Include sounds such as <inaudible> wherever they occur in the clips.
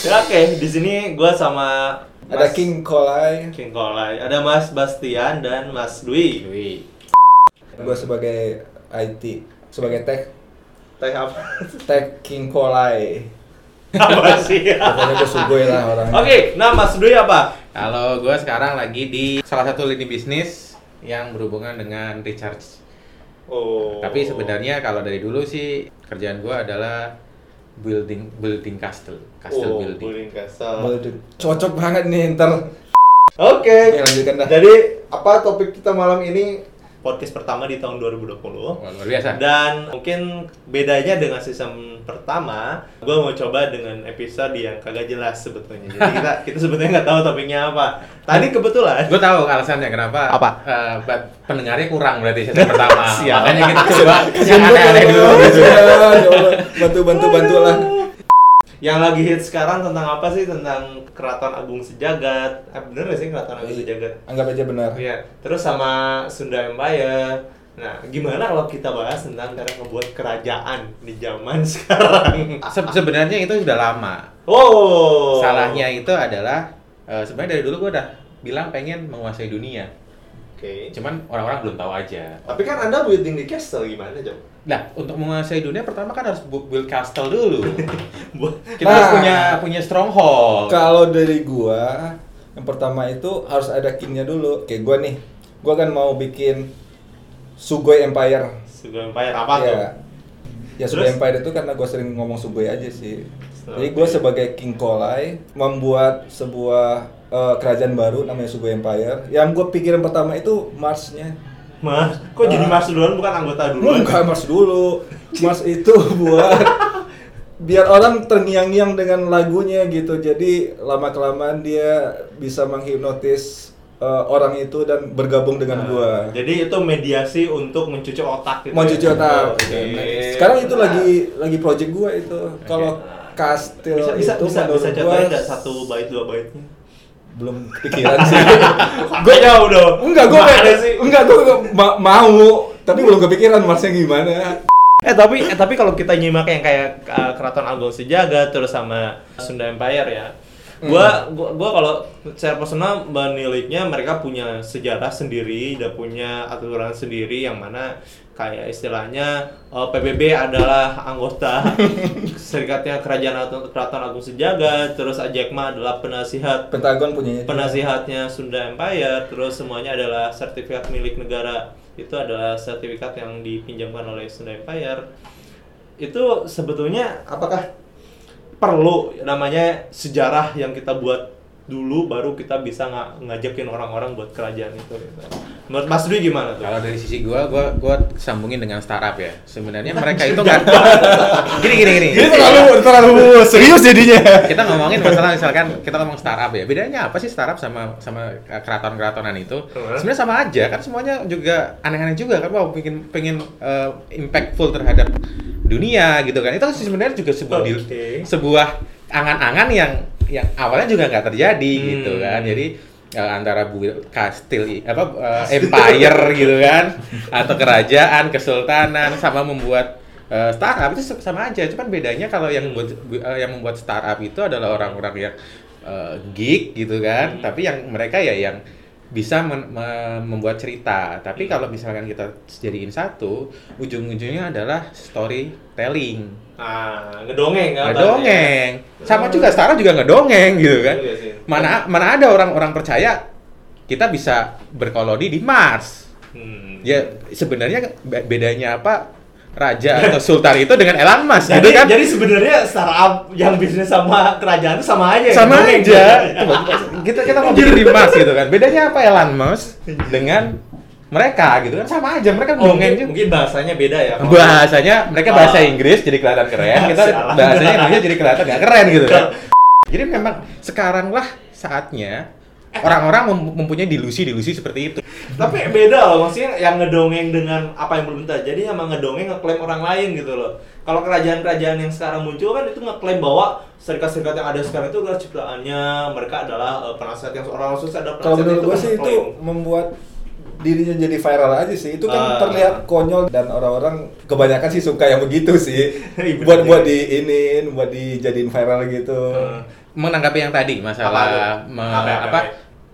Ya, Oke, di sini gua sama Ada Mas King Kolai, King Kolai, ada Mas Bastian dan Mas Dwi. Dwi. gue sebagai IT, sebagai tech, Teh apa? tech King Kolai. <laughs> apa sih? Pokoknya gue sugoi lah orangnya. Oke, nah Mas Dwi apa? Halo, gue sekarang lagi di salah satu lini bisnis yang berhubungan dengan recharge. Oh. Tapi sebenarnya kalau dari dulu sih kerjaan gue adalah building building castle, oh, castle building. building castle. Waduh, Cocok banget nih ntar. Oke. Ya, lanjutkan dah. Jadi apa topik kita malam ini? Podcast pertama di tahun 2020. Wah, Oh, luar biasa. Dan mungkin bedanya dengan season pertama, gue mau coba dengan episode yang kagak jelas sebetulnya. Jadi kita kita sebetulnya nggak tahu topiknya apa. Tadi kebetulan Gue tahu alasannya kenapa. Apa? Eh, ba- pendengarnya kurang berarti season pertama. Sial. Makanya kita coba yang Kasian gua aneh-aneh kalau- <laughs> dulu. gitu. Ya Allah, Bantu bantu bantu lah. Yang lagi hit sekarang tentang apa sih? Tentang Keraton Agung Sejagat. Eh, bener gak sih Keraton Agung Iya. Sejagat? Anggap aja benar. Iya. Terus sama Sunda Empire. Nah, gimana kalau kita bahas tentang cara ngebuat kerajaan di zaman <laughs> sekarang? Se- sebenarnya itu sudah lama. Wow. Salahnya itu adalah eh, sebenarnya dari dulu gue udah bilang pengen menguasai dunia. Oke. Cuman orang-orang belum tahu aja. Tapi kan Anda building di castle gimana, Jom? Nah, untuk menguasai dunia pertama kan harus bu- build castle dulu. <laughs> Buat Kita harus Nah. punya punya stronghold. Kalau dari gua, yang pertama itu harus ada kingnya dulu. Kayak gua nih, gua kan mau bikin Sugoi Empire. Sunda Empire apa tuh? ya. Ya Sugoi Terus? Empire itu karena gua sering ngomong Sugoi aja sih. Oke. Jadi gua sebagai King Kolai membuat sebuah eh, kerajaan baru namanya Sugoi Empire. Yang gua pikirin pertama itu Marsnya. Mas, kok jadi Ah. Mas duluan bukan anggota duluan? Enggak Mars dulu. Mars itu <laughs> buat biar orang terngiang-ngiang dengan lagunya gitu. Jadi lama kelamaan dia bisa menghipnotis eh, orang itu dan bergabung dengan gua. Nah, Jadi itu mediasi untuk mencuci otak gitu. Mau ya? cuci otak. Oke. Sekarang itu Nah, lagi lagi project gua itu. Kalau kastil bisa bisa itu bisa, menurut bisa gua contohin nggak satu bait dua baitnya? belum kepikiran <laughs> sih. Gue jauh dong. enggak gua Gimana kayak- sih. enggak gua gua ma- mau tapi belum kepikiran Marsnya gimana. Eh tapi eh, tapi kalau kita nyimak yang kayak uh, Keraton Agung Sejagat terus sama Sunda Empire ya. Gua gua, gua kalau secara personal meniliknya mereka punya sejarah sendiri dan punya aturan sendiri yang mana kayak istilahnya eh, PBB adalah <laughs> anggota serikatnya kerajaan Atau- Keraton Agung Sejagat, terus Ajakma adalah penasihat Pentagon punyanya. itu. penasihatnya Sunda Empire terus semuanya adalah sertifikat milik negara itu adalah sertifikat yang dipinjamkan oleh Sunda Empire itu sebetulnya apakah perlu namanya sejarah yang kita buat dulu baru kita bisa nga- ngajakin orang-orang buat kerajaan itu gitu. menurut Mas Dwi gimana tuh? Kalau dari sisi gua, gua gua sambungin dengan startup ya. Sebenarnya mereka itu <laughs> nggak gini gini gini. Ini terlalu terlalu serius jadinya. Kita ngomongin masalah misalkan kita ngomong startup ya. Bedanya apa sih startup sama sama eh, keraton-keratonan itu? Hmm. Sebenarnya sama aja kan semuanya juga aneh-aneh juga kan mau pengen pengen eh, impactful terhadap dunia gitu kan. Itu sebenarnya juga sebuah deal- Oke. sebuah angan-angan yang yang awalnya juga nggak terjadi Hmm. gitu kan jadi eh, antara bu kastil i- apa eh, empire gitu kan atau kerajaan kesultanan sama membuat eh, startup itu se- sama aja cuman bedanya kalau yang buat bu- eh, yang membuat startup itu adalah orang-orang yang eh, geek gitu kan tapi yang mereka ya yang bisa men- me- membuat cerita tapi kalau misalkan kita jadiin satu ujung-ujungnya adalah storytelling Ah, ngedongeng kan? ngedongeng sama juga Sarah juga ngedongeng gitu kan Iya sih. mana mana ada orang-orang percaya kita bisa berkoloni di Mars Hmm. ya sebenarnya be- bedanya apa raja <laughs> atau sultan itu dengan Elon Musk Jadi, gitu kan jadi sebenarnya startup yang bisnis sama kerajaan itu sama aja. ya, sama ngedongeng, aja gitu. Coba, kita kita mau bikin di Mars gitu kan bedanya apa Elon Musk Iya. dengan mereka gitu kan sama aja mereka Oh, ngedongeng mungkin, juga mungkin bahasanya beda ya. Kalau- bahasanya mereka bahasa Ah. Inggris jadi kelihatan keren kita Salah. bahasanya Indonesia jadi kelihatan gak keren gitu kan jadi memang sekaranglah saatnya orang-orang mem- mempunyai delusi-delusi seperti itu Tapi beda loh, maksudnya yang ngedongeng dengan apa yang belum terjadi jadi sama ngedongeng ngeklaim orang lain gitu loh. Kalau kerajaan-kerajaan yang sekarang muncul kan itu ngeklaim bahwa serikat-serikat yang ada sekarang itu adalah ciptaannya mereka adalah eh, penasihat yang seorang langsung ada Kalau penasihat menurut itu gua kan sih itu ngeklaim. membuat dirinya jadi viral aja sih. Itu kan Ah. terlihat konyol dan orang-orang kebanyakan sih suka yang begitu sih. <laughs> Iya, buat bener. buat diinin, buat dijadiin viral gitu. Eh, menanggapi yang tadi masalah Apa tuh? me- Apa, apa, apa,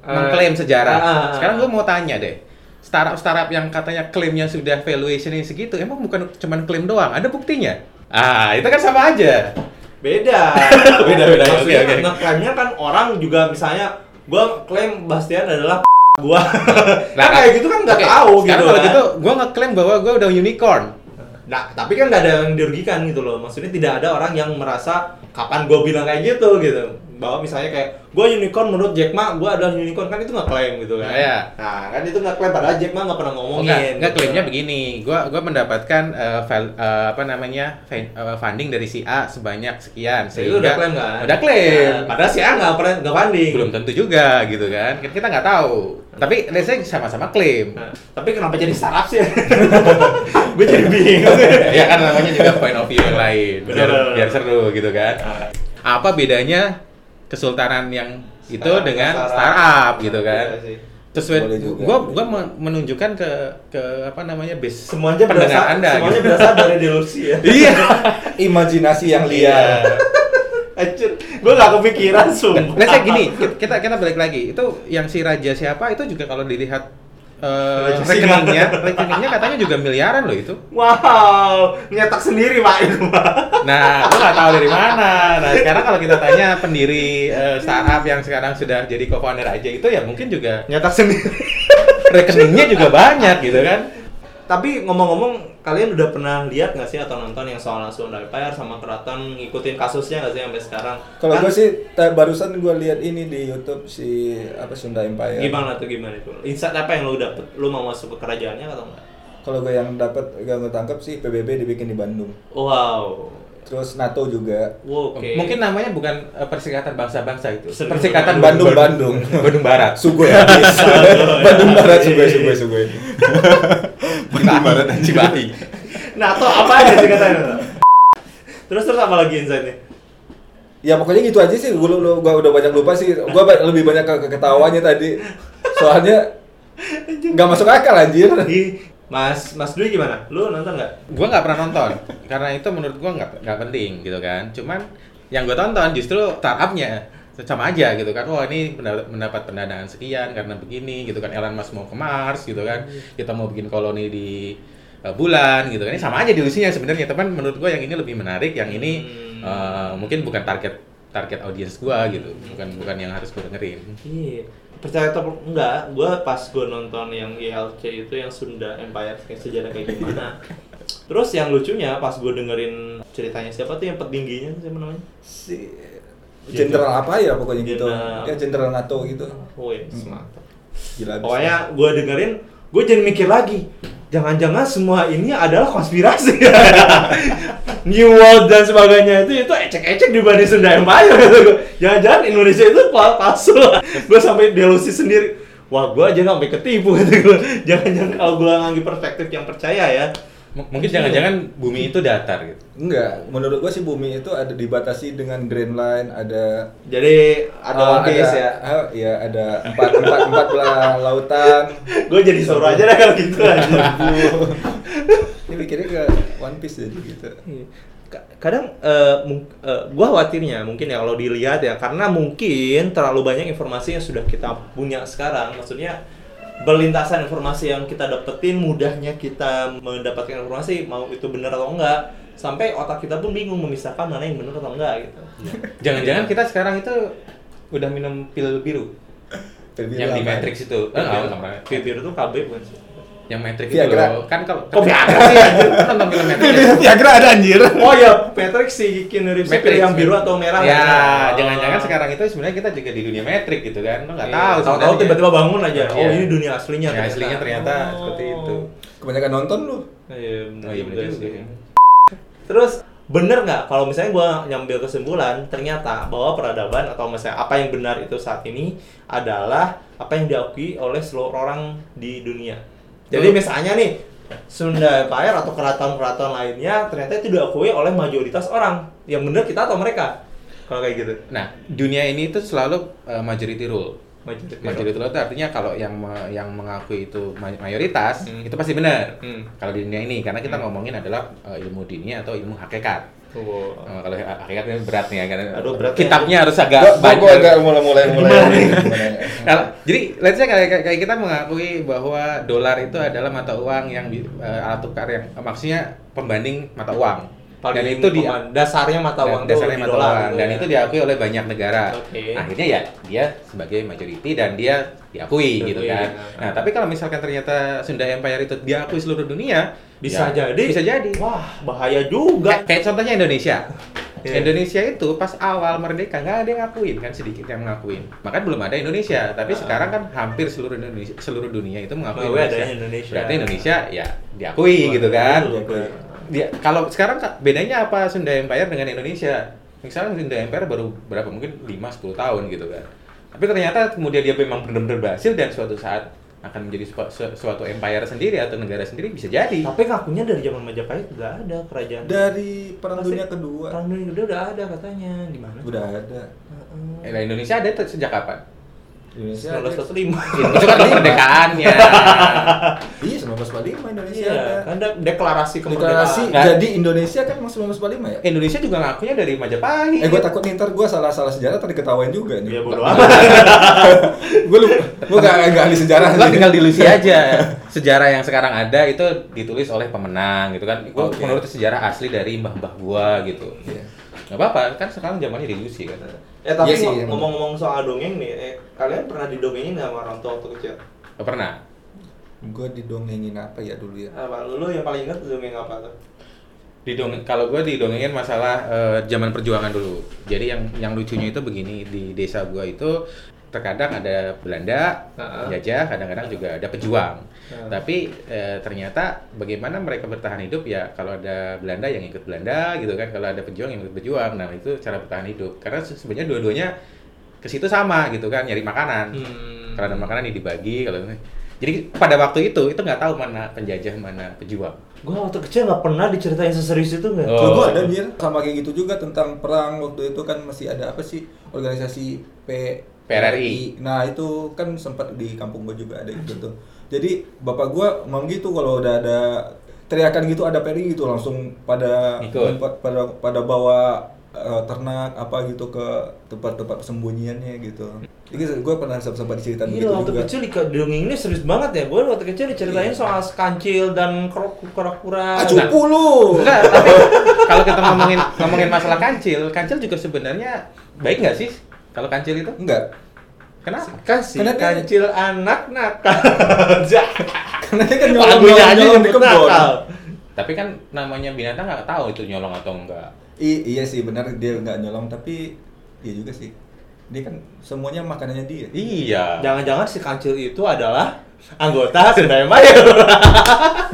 apa? mengklaim Eh, sejarah. ah, ah, Sekarang gue ah. mau tanya deh. Startup startup yang katanya klaimnya sudah valuationnya segitu, emang bukan cuman klaim doang, ada buktinya. Ah, itu kan sama aja. beda <laughs> Beda, beda, ya, maksudnya oke, oke. ngeklaimnya kan orang juga misalnya gua klaim Bastian adalah <laughs> gua nah, Nah, kayak gitu kan nggak Oke, tahu gitu sekarang kalau kan. gitu, gue ngeklaim bahwa gue udah unicorn. Nah, tapi kan nggak ada yang dirugikan gitu loh. Maksudnya tidak ada orang yang merasa kapan gue bilang kayak gitu gitu. Bahwa misalnya kayak gue unicorn menurut Jack Ma, gue adalah unicorn kan itu nggak klaim gitu kan. Iya. Nah, kan itu nggak klaim padahal Jack Ma nggak pernah Oh, ngomongin. enggak, enggak gitu. klaimnya begini. Gua gua mendapatkan eh, val- eh, apa namanya? fan- eh, funding dari si A sebanyak sekian. Itu udah klaim nggak? Udah kan? Iya, klaim. Nah, padahal si A nggak pernah nggak banding. Belum tentu juga gitu kan. Kan Kita nggak tahu. Tapi let's say sama-sama klaim. Nah, tapi kenapa jadi startup <laughs> sih? gue jadi bingung. ya kan namanya juga point of view yang lain. Biar, Bener. biar seru gitu kan. Ah. Apa bedanya kesultanan yang itu Startup, dengan startup. startup gitu kan? Iya sih. Terus Boleh juga. gua gua men- menunjukkan ke ke apa namanya base Semuanya berasal, pendengar Anda. semuanya gitu. berasal dari delusi ya. <laughs> <laughs> Iya. Imajinasi yang liar. Iya. Acun, gue gak kepikiran sumpah. Nah, saya gini, ki- kita kita balik lagi. Itu yang si raja siapa itu juga kalau dilihat eh, Raja singa. rekeningnya, rekeningnya katanya juga miliaran loh itu. Wow, nyetak sendiri pak itu pak. Nah, gua nggak tahu dari mana. Nah, sekarang kalau kita tanya pendiri eh, startup yang sekarang sudah jadi co-founder aja itu ya mungkin juga Nyetak sendiri. rekeningnya juga banyak gitu kan. Tapi ngomong-ngomong, kalian udah pernah lihat nggak sih atau nonton yang soal Sunda Empire sama keraton ngikutin kasusnya nggak sih sampai sekarang? Kalau Kan, gue sih ta- barusan gue lihat ini di YouTube si apa Sunda Empire. gimana tuh gimana itu? Insight apa yang lu dapet? Lu mau masuk ke kerajaannya atau enggak? Kalau gue yang dapat gak tangkap sih PBB dibikin di Bandung. Wow. Terus NATO juga. Wow, Oke. Mungkin namanya bukan eh, persikatan bangsa-bangsa itu. Persikatan Persikatan Bandung, Bandung. Bandung. Bandung Barat. Sugoi <laughs> habis. Bandung Barat Sugoi Sugoi Sugoi. Bandung Barat dan Cibahi. Nah, atau apa aja sih katanya? terus terus apa lagi insightnya? Ya pokoknya gitu aja sih. Gue gua udah banyak lupa sih. Gue ba- lebih banyak ke ke- ketawanya tadi. Soalnya nggak masuk akal anjir. Ih, Mas Mas Dwi gimana? Lu nonton nggak? gue nggak pernah nonton karena itu menurut gue nggak nggak penting gitu kan cuman yang gue tonton justru startupnya sama aja gitu kan wah ini mendapat, mendapat pendanaan sekian karena begini gitu kan Elon Musk mau ke Mars gitu kan kita mau bikin koloni di eh, bulan gitu kan ini sama aja dilusinya sebenarnya teman menurut gue yang ini lebih menarik yang ini Hmm. eh, mungkin bukan target target audiens gue gitu bukan bukan yang harus gue dengerin Iya. Percaya atau enggak, gue pas gue nonton yang ILC itu yang Sunda Empire kayak sejarah kayak gimana. Terus yang lucunya pas gue dengerin ceritanya siapa tuh yang petingginya siapa namanya? Si Iya, jenderal apa ya pokoknya gitu. Jenderal. Ya jenderal NATO gitu. Oh ya, semata. Gila. abis. Pokoknya gue dengerin, gue jadi mikir lagi. Jangan-jangan semua ini adalah <laughs> konspirasi. New World dan sebagainya itu itu ecek-ecek dibanding Sunda Empire. kata gua. Jangan-jangan Indonesia itu pa- palsu. gue sampai delusi sendiri. Wah, gue aja sampai ketipu. <laughs> kata gua. Jangan-jangan kalau gue ngambil perspektif yang percaya ya. M- mungkin jangan-jangan bumi itu datar gitu Enggak, menurut gua sih bumi itu ada dibatasi dengan Green Line, ada Jadi ada Oh, one piece ada- ya. ah, iya, ada empat empat empat belah <laughs> lautan. Gue jadi soro aja deh kalau gitu aja. Ini mikirnya ke One Piece jadi gitu. Iya. Ka- kadang eh, mung- eh, gua khawatirnya mungkin ya kalau dilihat ya karena mungkin terlalu banyak informasi yang sudah kita punya sekarang maksudnya berlintasan informasi yang kita dapetin mudahnya kita mendapatkan informasi mau itu benar atau enggak sampai otak kita pun bingung memisahkan mana yang benar atau enggak gitu jangan-jangan kita sekarang itu udah minum pil biru Terbilang yang di apa? Matrix itu. <laughs> Iya, Eh, enggak, enggak pernah. Bibir Kan, itu KB bukan sih? Yang Matrix itu Viagra. loh. Kan kalau Kok Viagra sih anjir? Kan nonton film Matrix. ya? Viagra ada anjir. Oh ya, Patrick si Keanu Reeves itu Matrix, yang biru Matrix. atau merah? Ya, Oh. jangan-jangan sekarang itu sebenarnya kita juga di dunia Matrix gitu kan. Lo enggak Iya, tahu. Tahu-tahu sebenarnya. tiba-tiba Oh. bangun aja. Oh, Iya. ini dunia aslinya. Ya, aslinya ternyata seperti itu. Kebanyakan nonton lu. Iya, bener Oh, iya bener juga juga sih. ya. Terus bener nggak kalau misalnya gua nyambil kesimpulan ternyata bahwa peradaban atau misalnya apa yang benar itu saat ini adalah apa yang diakui oleh seluruh orang di dunia. Jadi Betul. misalnya nih Sunda Empire atau keraton-keraton lainnya ternyata itu diakui oleh mayoritas orang. Yang benar kita atau mereka? Kalau kayak gitu. Nah, dunia ini itu selalu uh, eh, majority rule. Majority. Majority vote itu artinya kalau yang me- yang mengakui itu ma- mayoritas itu pasti benar. Hmm. Kalau di dunia ini karena kita ngomongin adalah uh, ilmu dini atau ilmu hakikat. Wow. Uh, kalau ha- hakikatnya berat nih ya karena Oh. Aduh, berat ya. kitabnya harus agak Gua, gua, gua banyak. agak mulai-mulai mulai. <laughs> Kalau Nah, jadi let's say kayak, kayak- kayak kita mengakui bahwa dolar itu adalah mata uang yang di- eh, alat tukar yang eh, maksudnya pembanding mata uang. Paling dan itu di peman- dasarnya mata dan uang tuh dasarnya di mata dolar uang gitu dan ya. itu diakui oleh banyak negara. Oke. Akhirnya ya dia sebagai majority dan dia diakui gitu Diakui, kan. ya. Nah, tapi kalau misalkan ternyata Sunda Empire itu diakui seluruh dunia, bisa ya, jadi bisa jadi. wah bahaya juga Kayak, kayak contohnya Indonesia. Iya. Indonesia itu pas awal merdeka nggak ada yang ngakuin kan sedikit yang ngakuin. Bahkan belum ada Indonesia. Tapi Ah. sekarang kan hampir seluruh Indonesia seluruh dunia itu mengakui Mengakui Indonesia. adanya Indonesia. Berarti Indonesia ya diakui gitu kan. iya, Dia, kalau sekarang Kak, bedanya apa Sunda Empire dengan Indonesia? Misalnya Sunda Empire baru berapa mungkin 5 10 tahun gitu kan. Tapi ternyata kemudian dia memang benar-benar berhasil dan suatu saat akan menjadi sua- su- suatu empire sendiri atau negara sendiri bisa jadi. tapi ngakunya dari zaman Majapahit udah ada kerajaan Dari Perang Pasti. Dunia Kedua Perang Dunia Kedua udah ada katanya di mana udah ada. Heeh. Eh, Nah, Indonesia ada tuh sejak kapan? Indonesia ada. <laughs> 1945 itu kan kemerdekaannya Iya 1945 Indonesia Iya, ada. kan ada deklarasi Deklarasi kemerdekaan. Nggak. jadi Indonesia kan emang 1945 ya? Indonesia juga ngakunya dari Majapahit Eh gue takut nih ntar gue salah-salah sejarah tadi ketahuan juga Ya nih bodo amat. <laughs> Gue lupa, gue gak, gak ahli sejarah Gua tinggal dilusi Iya aja sejarah yang sekarang ada itu ditulis oleh pemenang gitu kan gua Oke. menurut sejarah asli dari mbah-mbah gua gitu Iya. nggak apa-apa kan sekarang zamannya dilusi kan Eh tapi Iya sih, ngom- iya. ngomong-ngomong soal dongeng nih, eh, kalian pernah didongengin nggak sama orang tua waktu kecil? Nggak pernah Gue didongengin apa ya dulu ya Apa? Lu yang paling inget dongeng apa tuh? Didong kalau gue didongengin masalah eh, zaman perjuangan dulu. Jadi yang yang lucunya itu begini di desa gua itu terkadang ada Belanda Heeh. jajah, kadang-kadang juga ada pejuang. Heeh. Tapi eh, ternyata bagaimana mereka bertahan hidup ya kalau ada Belanda yang ikut Belanda gitu kan, kalau ada pejuang yang ikut pejuang. Nah, itu cara bertahan hidup. Karena se- sebenarnya dua-duanya ke situ sama gitu kan, nyari makanan. Hmm. Kalau ada makanan ya dibagi kalau jadi pada waktu itu itu nggak tahu mana penjajah mana pejuang. Gua waktu kecil nggak pernah diceritain seserius itu nggak? Oh. Kalau gue ada mir sama kayak gitu juga tentang perang waktu itu kan masih ada apa sih organisasi P PRRI. Nah itu kan sempat di kampung gue juga ada gitu tuh. Jadi bapak gue emang gitu kalau udah ada teriakan gitu ada PRRI gitu langsung pada Ikut. pa- pada pada bawa eh, ternak apa gitu ke tempat-tempat sembunyiannya gitu. Jadi gue pernah sempat diceritain Iya gitu waktu juga. Iya. kecil di- dongeng ini serius banget ya. Gue waktu kecil diceritain soal kancil dan kerok kura-kura. Ah, cupu lu. Enggak, tapi kalau kita ngomongin ngomongin masalah kancil, kancil juga sebenarnya baik nggak sih? Kalau kancil itu Enggak. <laughs> kenapa? Kasih Karena dia- kancil anak <laughs> nakal. Karena dia kan Lagunya aja nyolong-nyolong di nyebut kebun. nakal. Tapi kan namanya binatang nggak tahu itu nyolong atau enggak. I- iya sih benar dia nggak nyolong tapi iya juga sih. Dia kan semuanya makanannya dia. Iya. Jangan-jangan si kancil itu adalah <laughs> anggota Sunda Empire.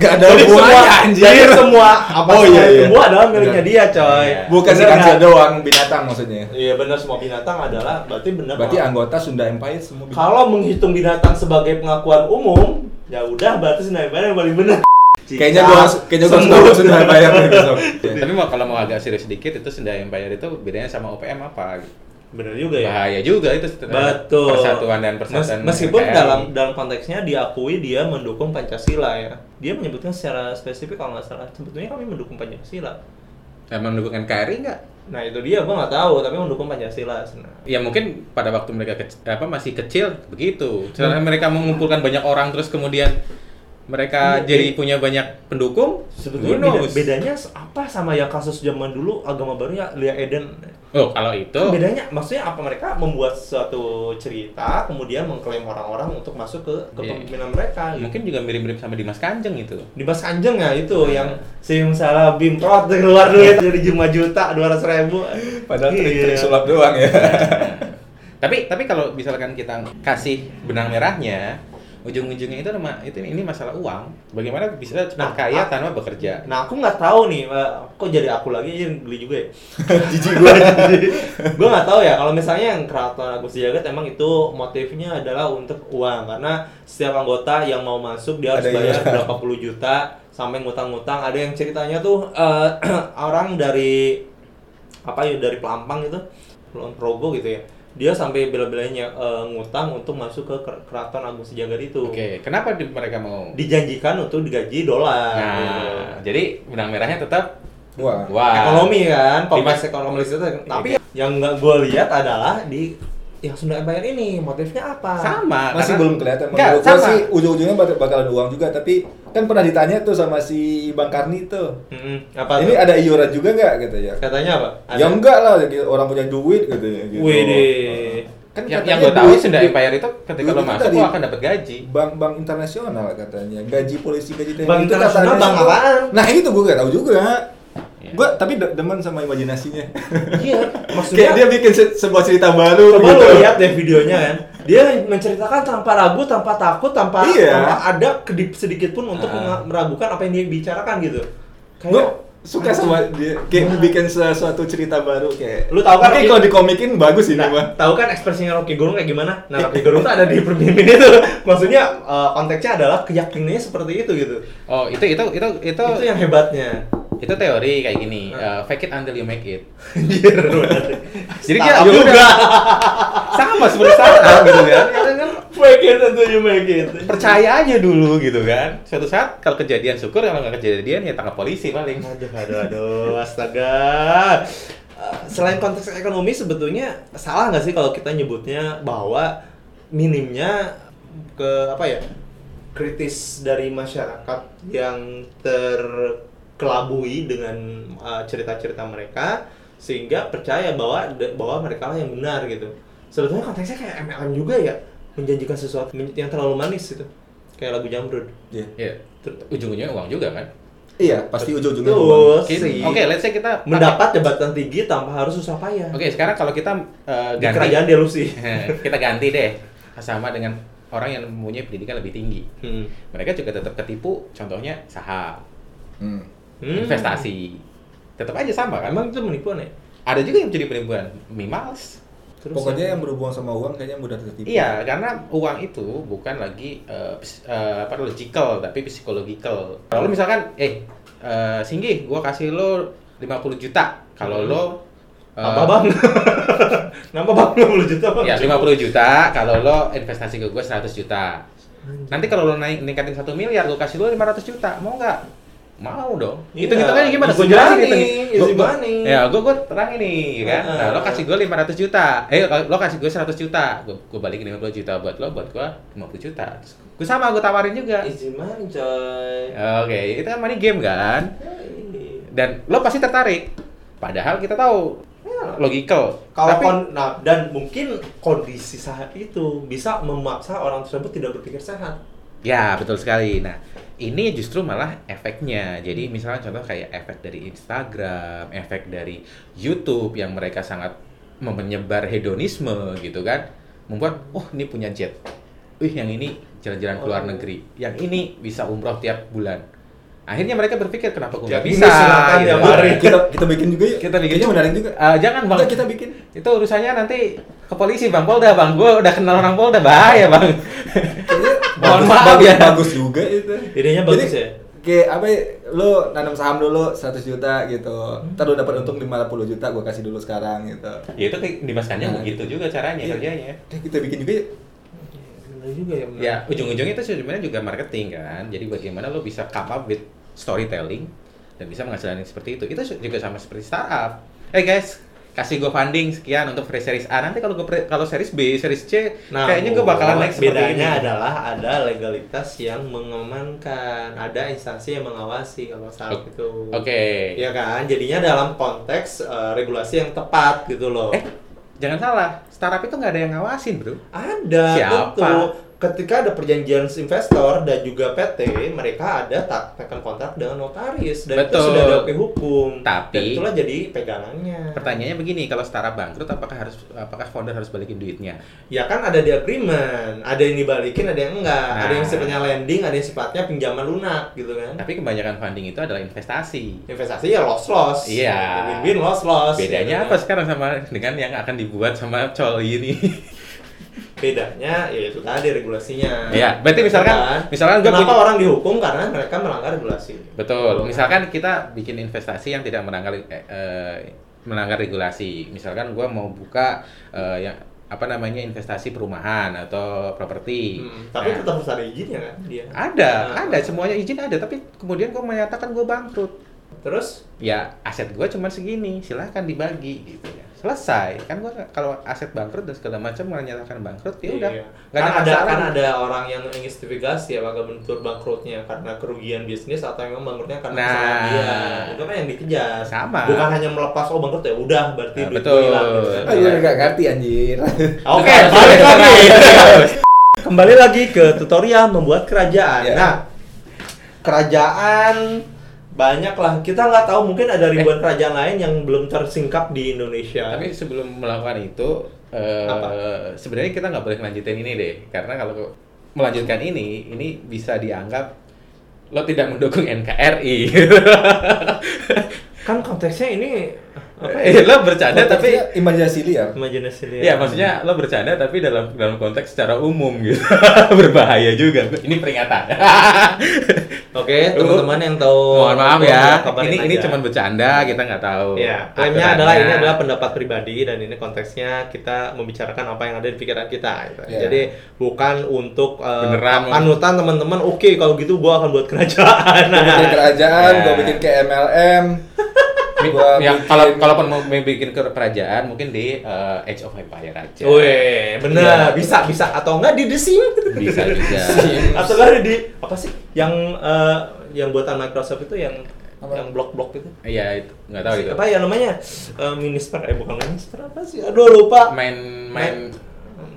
Gak ada Jadi semua, hubungannya jadi semua apa Oh, semua iya, iya. semua adalah miliknya Benar. dia, coy. Iya. Bukan si Benar kancil nggak? doang binatang maksudnya. Iya benar semua binatang adalah berarti benar. Berarti kalau- anggota Sunda Empire semua binatang. kalau menghitung binatang sebagai pengakuan umum, ya udah berarti Sunda Empire yang paling benar. Kayaknya gua kayaknya gua harus ngomong Sunda Empire nih besok. Iya. Iya. Tapi mau kalau mau agak serius sedikit itu Sunda Empire itu bedanya sama OPM apa? <laughs> Benar juga ya. Bahaya juga itu sebenarnya. Betul. persatuan dan persatuan. Mes- meskipun NKRI. dalam dalam konteksnya diakui dia mendukung Pancasila ya. Dia menyebutkan secara spesifik kalau nggak salah. Sebetulnya kami mendukung Pancasila. emang mendukung NKRI nggak? Nah itu dia, gua nggak tahu. Tapi mendukung Pancasila. Nah, Ya mungkin pada waktu mereka kec- apa masih kecil begitu. Setelah mereka mengumpulkan banyak orang terus kemudian mereka jadi punya banyak pendukung. Sebetulnya beda- who knows? bedanya s- apa sama yang kasus zaman dulu agama baru ya Lia Eden? Oh, kalau itu Kan bedanya maksudnya apa mereka membuat suatu cerita kemudian mengklaim orang-orang untuk masuk ke kepemimpinan mereka gitu. mungkin juga mirip-mirip sama Dimas Kanjeng gitu. itu. di Mas Kanjeng ya itu yang siung salah bimprot keluar duit jadi lima juta dua ratus ribu Padahal Iya. trik-trik sulap doang ya. Tapi tapi kalau misalkan kita kasih benang merahnya, ujung-ujungnya itu nama itu ini masalah uang. Bagaimana bisa cepat Nah, kaya ah. tanpa bekerja? Nah aku nggak tahu nih, eh, kok jadi aku lagi aja yang beli juga ya? Jijik gua. gue nggak tahu ya. Kalau misalnya yang keraton Agung Sejagat emang itu motifnya adalah untuk uang karena setiap anggota yang mau masuk dia harus Ada yang- bayar berapa puluh juta sampai ngutang-ngutang. Ada yang ceritanya tuh eh, <clears throat> orang dari apa ya dari Pelampang gitu, Kulon Progo gitu ya. dia sampai bela-belanya eh, ngutang untuk masuk ke ker- keraton Agung Sejagat itu. Oke, kenapa di- mereka mau? Dijanjikan untuk digaji dolar. gitu. Nah, jadi benang merahnya tetap Wah. wah. ekonomi kan, kompleks Lima- ekonomi itu. Tapi yang nggak gue lihat adalah di yang Sunda Empire ini motifnya apa? Sama. Masih karena- belum kelihatan. Nggak, Menurut gua sama. sih ujung-ujungnya bak- bakalan uang juga, tapi kan pernah ditanya tuh sama si Bang Karni tuh. Mm-mm, apa Ini tuh? ada iuran juga nggak gitu ya? Katanya apa? Ada. Ya enggak lah, jadi orang punya duit katanya gitu. Wih deh. Kan Kan yang, katanya yang gue tahu duit- Sunda duit- Empire itu ketika duit lo itu masuk dari- lo akan dapat gaji. bank-bank internasional katanya gaji polisi gaji TNI Bank itu internasional, katanya bank itu- apaan? nah itu gue gak tahu juga Iya. gue tapi de- demen sama imajinasinya Iya, maksudnya <laughs> kayak dia bikin se- sebuah cerita baru coba gitu lo lihat deh videonya kan. Dia menceritakan tanpa ragu, tanpa takut, tanpa, Iya. tanpa ada kedip sedikit pun untuk Ah. menga- meragukan apa yang dia bicarakan gitu. gue Kayak suka sama dia kayak bikin sesuatu cerita baru kayak Lu tahu kan mungkin Rocky- kalau dikomikin bagus ini Nah, mah tahu kan ekspresinya Rocky Gerung kayak gimana? Nah, <laughs> Rocky Gerung tuh ada di pemimpin itu. Maksudnya eh, konteksnya adalah keyakinannya seperti itu gitu. Oh, itu itu itu itu Itu yang hebatnya. itu teori kayak gini, Nah. eh, fake it until you make it. Anjir. Jadi Startup kayak ya udah. juga. <laughs> sama seperti startup gitu kan. Ya kan, Make it until you make it. percaya aja dulu gitu kan. Suatu saat kalau kejadian syukur kalau nggak kejadian ya tangkap polisi paling. Aduh, aduh, aduh, astaga. Eh, Selain konteks ekonomi sebetulnya salah nggak sih kalau kita nyebutnya bahwa minimnya ke apa ya kritis dari masyarakat yang terkelabui dengan eh, cerita-cerita mereka sehingga percaya bahwa bahwa mereka lah yang benar gitu. Sebetulnya konteksnya kayak MLM juga ya menjanjikan sesuatu yang terlalu manis gitu kayak lagu Jamrud. Iya. Ya, ter- ujung-ujungnya uang juga kan. iya pasti ujung-ujungnya uang. Terus Oke, sih. oke, let's say kita mendapat jabatan tinggi tanpa harus susah payah. Oke, sekarang kalau kita eh, Di ganti kerajaan delusi. <laughs> kita ganti deh sama dengan orang yang mempunyai pendidikan lebih tinggi. Hmm. Mereka juga tetap ketipu, contohnya saham, Hmm. Hmm. investasi. Tetap aja sama kan. Emang itu menipuan ya? Ada juga yang jadi penipuan, mimals. Terus pokoknya yang berhubungan sama uang kayaknya mudah tertipu Gitu. Iya, karena uang itu bukan lagi eh, pis- eh, apa logical tapi psychological. Kalau lu misalkan eh eh, Singgih, gua kasih lo 50 juta. Hmm. Kalau lo eh, apa bang? <laughs> Nambah bang 50 juta bang? Ya, 50 juta. Kalau lo investasi ke gue 100 juta. Nah, Nanti kalau lo naik ningkatin 1 miliar, gue kasih lo 500 juta. Mau nggak? Mau dong. Iya. Itu hitungannya gimana? Easy Gue jelasin money, gitu. easy Gua- gua- money. Ya, gue gue terangin nih, ya kan. Nah, lo Heeh. kasih gue 500 juta. Eh, lo lo kasih gue 100 juta. Gue gue balikin 50 juta buat lo, buat gue 50 juta. Terus Gue sama, gue tawarin juga. Izin money coy. Ya, Oke, itu kan money game kan. Hey. Dan lo pasti tertarik. Padahal kita tahu ya, logical. Kalau Tapi- kon- nah, dan mungkin kondisi sehat itu bisa memaksa orang tersebut tidak berpikir sehat. Ya, betul sekali. Nah, ini justru malah efeknya. Jadi, Hmm. misalnya contoh kayak efek dari Instagram, efek dari YouTube yang mereka sangat menyebar hedonisme gitu kan. Membuat, oh ini punya jet. Wih, yang ini jalan-jalan ke luar Oh. negeri. Yang ini bisa umroh tiap bulan. Akhirnya mereka berpikir, kenapa gue nggak Tiap bisa? minggu silakan gitu tiap kan. hari. kita kita bikin juga yuk Kita bikin. Kayaknya menarik juga Eh, jangan bang, Enggak, kita <laughs> bikin itu urusannya nanti ke polisi bang Polda bang. Gue udah kenal orang Polda, bahaya bang. Mohon Bagus- maaf bagus, ya. bagus juga itu Idenya bagus ya? kayak apa ya, lu nanam saham dulu 100 juta gitu Hmm. ntar lu dapat untung 50 juta gua kasih dulu sekarang gitu Ya itu kayak Dimas Kanjeng Nah. begitu gitu juga caranya Iya. kerjanya. Eh, kita bikin juga yuk. Benar juga ya. benar. Ya ujung-ujungnya itu sebenarnya juga marketing kan. Jadi bagaimana lo bisa come up with storytelling dan bisa menghasilkan yang seperti itu. Itu juga sama seperti startup. Eh guys, kasih gue funding sekian untuk free series A. Nanti kalau gue pre- kalau series B, series C, kayaknya gue bakalan naik seperti Nah, bedanya ini. adalah ada legalitas yang mengamankan, ada instansi yang mengawasi kalau saat Oke. itu. Oke. Ya. Iya kan, jadinya dalam konteks eh, regulasi yang tepat gitu loh. Eh, jangan salah. Startup itu nggak ada yang ngawasin, bro. ada siapa? betul. Ketika ada perjanjian investor dan juga PT, mereka ada tak tekan kontrak dengan notaris dan itu Betul. sudah ada oke hukum. Tapi- dan itulah jadi pegangannya. Pertanyaannya begini, kalau startup bangkrut, apakah harus apakah founder harus balikin duitnya? Ya kan ada di agreement, ada yang dibalikin, ada yang enggak, Nah. ada yang sifatnya lending, ada yang sifatnya pinjaman lunak gitu kan. Tapi kebanyakan funding itu adalah investasi. investasi ya loss loss Iya. win win loss loss Bedanya kan? apa sekarang sama dengan yang akan dibuat sama Col ini? <laughs> bedanya ya itu tadi regulasinya Iya, berarti misalkan- Kan? misalkan gua kenapa punya- orang dihukum karena mereka melanggar regulasi Betul. Misalkan kita bikin investasi yang tidak melanggar eh, eh, melanggar regulasi. Misalkan gua mau buka eh, yang apa namanya investasi perumahan atau properti. Hmm, tapi Nah, tetap harus ada izinnya kan dia. Iya. ada, Nah. ada semuanya izin ada, tapi kemudian gue menyatakan gue bangkrut. Terus Ya aset gue cuma segini, silahkan dibagi gitu ya. Selesai kan gue kalau aset bangkrut dan segala macam menyatakan bangkrut ya udah. Iya. Nggak Kan ada, masalah. kan ada orang yang menjustifikasi ya apakah bentur bangkrutnya karena kerugian bisnis atau memang bangkrutnya karena Nah. kesalahan dia. Itu kan yang dikejar. Sama. Bukan hanya melepas oh bangkrut ya udah berarti Nah, duit betul. gua Iya. hilang gitu kan. Ah, gue nggak ngerti anjir. Oke, Betul, balik betul, lagi. <laughs> <laughs> betul. Kembali lagi ke tutorial membuat kerajaan. Iya. Nah, kerajaan banyak lah kita nggak tahu mungkin ada ribuan kerajaan lain yang belum tersingkap di Indonesia. Eh. Tapi sebelum melakukan itu, eh, Apa? sebenarnya kita nggak boleh melanjutkan ini deh, karena kalau melanjutkan ini, ini bisa dianggap lo tidak mendukung NKRI. kan konteksnya ini ya? Eh, <laughs> lo bercanda tapi Konteksnya imajinasi liar. imajinasi dia. Ya maksudnya lo bercanda tapi dalam dalam konteks secara umum gitu <laughs> berbahaya juga. Ini <laughs> peringatan. Oke, teman-teman yang tahu Mohon maaf iya, ya. Ini ini cuman cuma bercanda kita nggak tahu. Ya, klaimnya aturannya. adalah ini adalah pendapat pribadi dan ini konteksnya kita membicarakan apa yang ada di pikiran kita. gitu. Ya. Jadi bukan untuk eh, Iya. Beneran. panutan teman-teman. Oke, kalau gitu gua akan buat kerajaan. Gue bikin kerajaan, Nah. gue bikin ke MLM. <laughs> Mi- Gua ya, bikin- kalau kalaupun mau mau bikin ke kerajaan mungkin di eh, Age of Empire aja. Weh, bener, Iya. bisa bisa atau enggak di The Sims. <laughs> Bisa juga. atau enggak di apa sih yang eh, yang buatan Microsoft itu yang Apa? yang blok-blok itu. Iya, itu nggak tahu itu. Apa ya namanya? Eh, minister eh bukan minister apa sih? Aduh lupa. Main main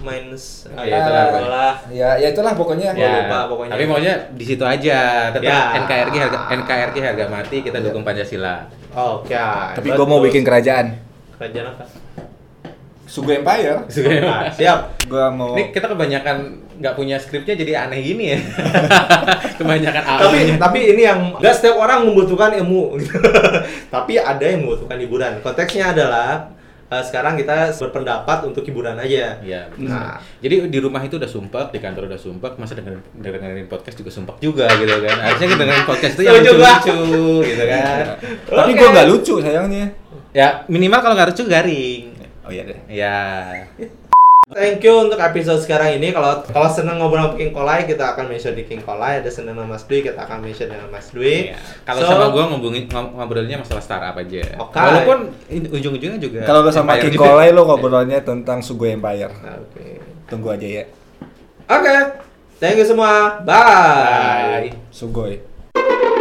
Minus Ya, itulah, Ah, itulah. Ya, ya itulah pokoknya. Ya. lupa pokoknya. Tapi maunya di situ aja. Tetap Ya. Iya. NKRI harga NKRI harga mati kita dukung Pancasila. Oke. Tapi gue mau bikin kerajaan. kerajaan apa? Sugo Empire. Nah, siap. Gue mau. Ini kita kebanyakan nggak punya skripnya jadi aneh gini <laughs> ya. kebanyakan tapi alurnya. tapi ini yang enggak setiap orang membutuhkan ilmu. <laughs> tapi ada yang membutuhkan hiburan. Konteksnya adalah eh, sekarang kita berpendapat untuk hiburan aja. Iya. Nah. Jadi di rumah itu udah sumpek, di kantor udah sumpek, masa dengerin, dengerin podcast juga sumpek juga gitu kan. Harusnya kita dengerin podcast itu yang Setuju gua. lucu-lucu gitu <laughs> kan. Tapi Oke. gue nggak lucu sayangnya. Ya minimal kalau nggak lucu garing. Oh iya deh. Ya. Thank you untuk episode sekarang ini. Kalau kalau senang ngobrol sama King Kolai, kita akan mention di King Kolai. Ada senang sama Mas Dwi, kita akan mention dengan Mas Dwi. Iya. Kalau So, sama gue ngomongin ngom- ngobrolinnya masalah startup aja. Oke. Walaupun in- ujung-ujungnya juga. Kalau lo sama empire King juga. Kolai lo ngobrolnya tentang Sugo Empire. Oke. Tunggu aja ya. Oke. Thank you semua. Bye. Bye. Sugoi.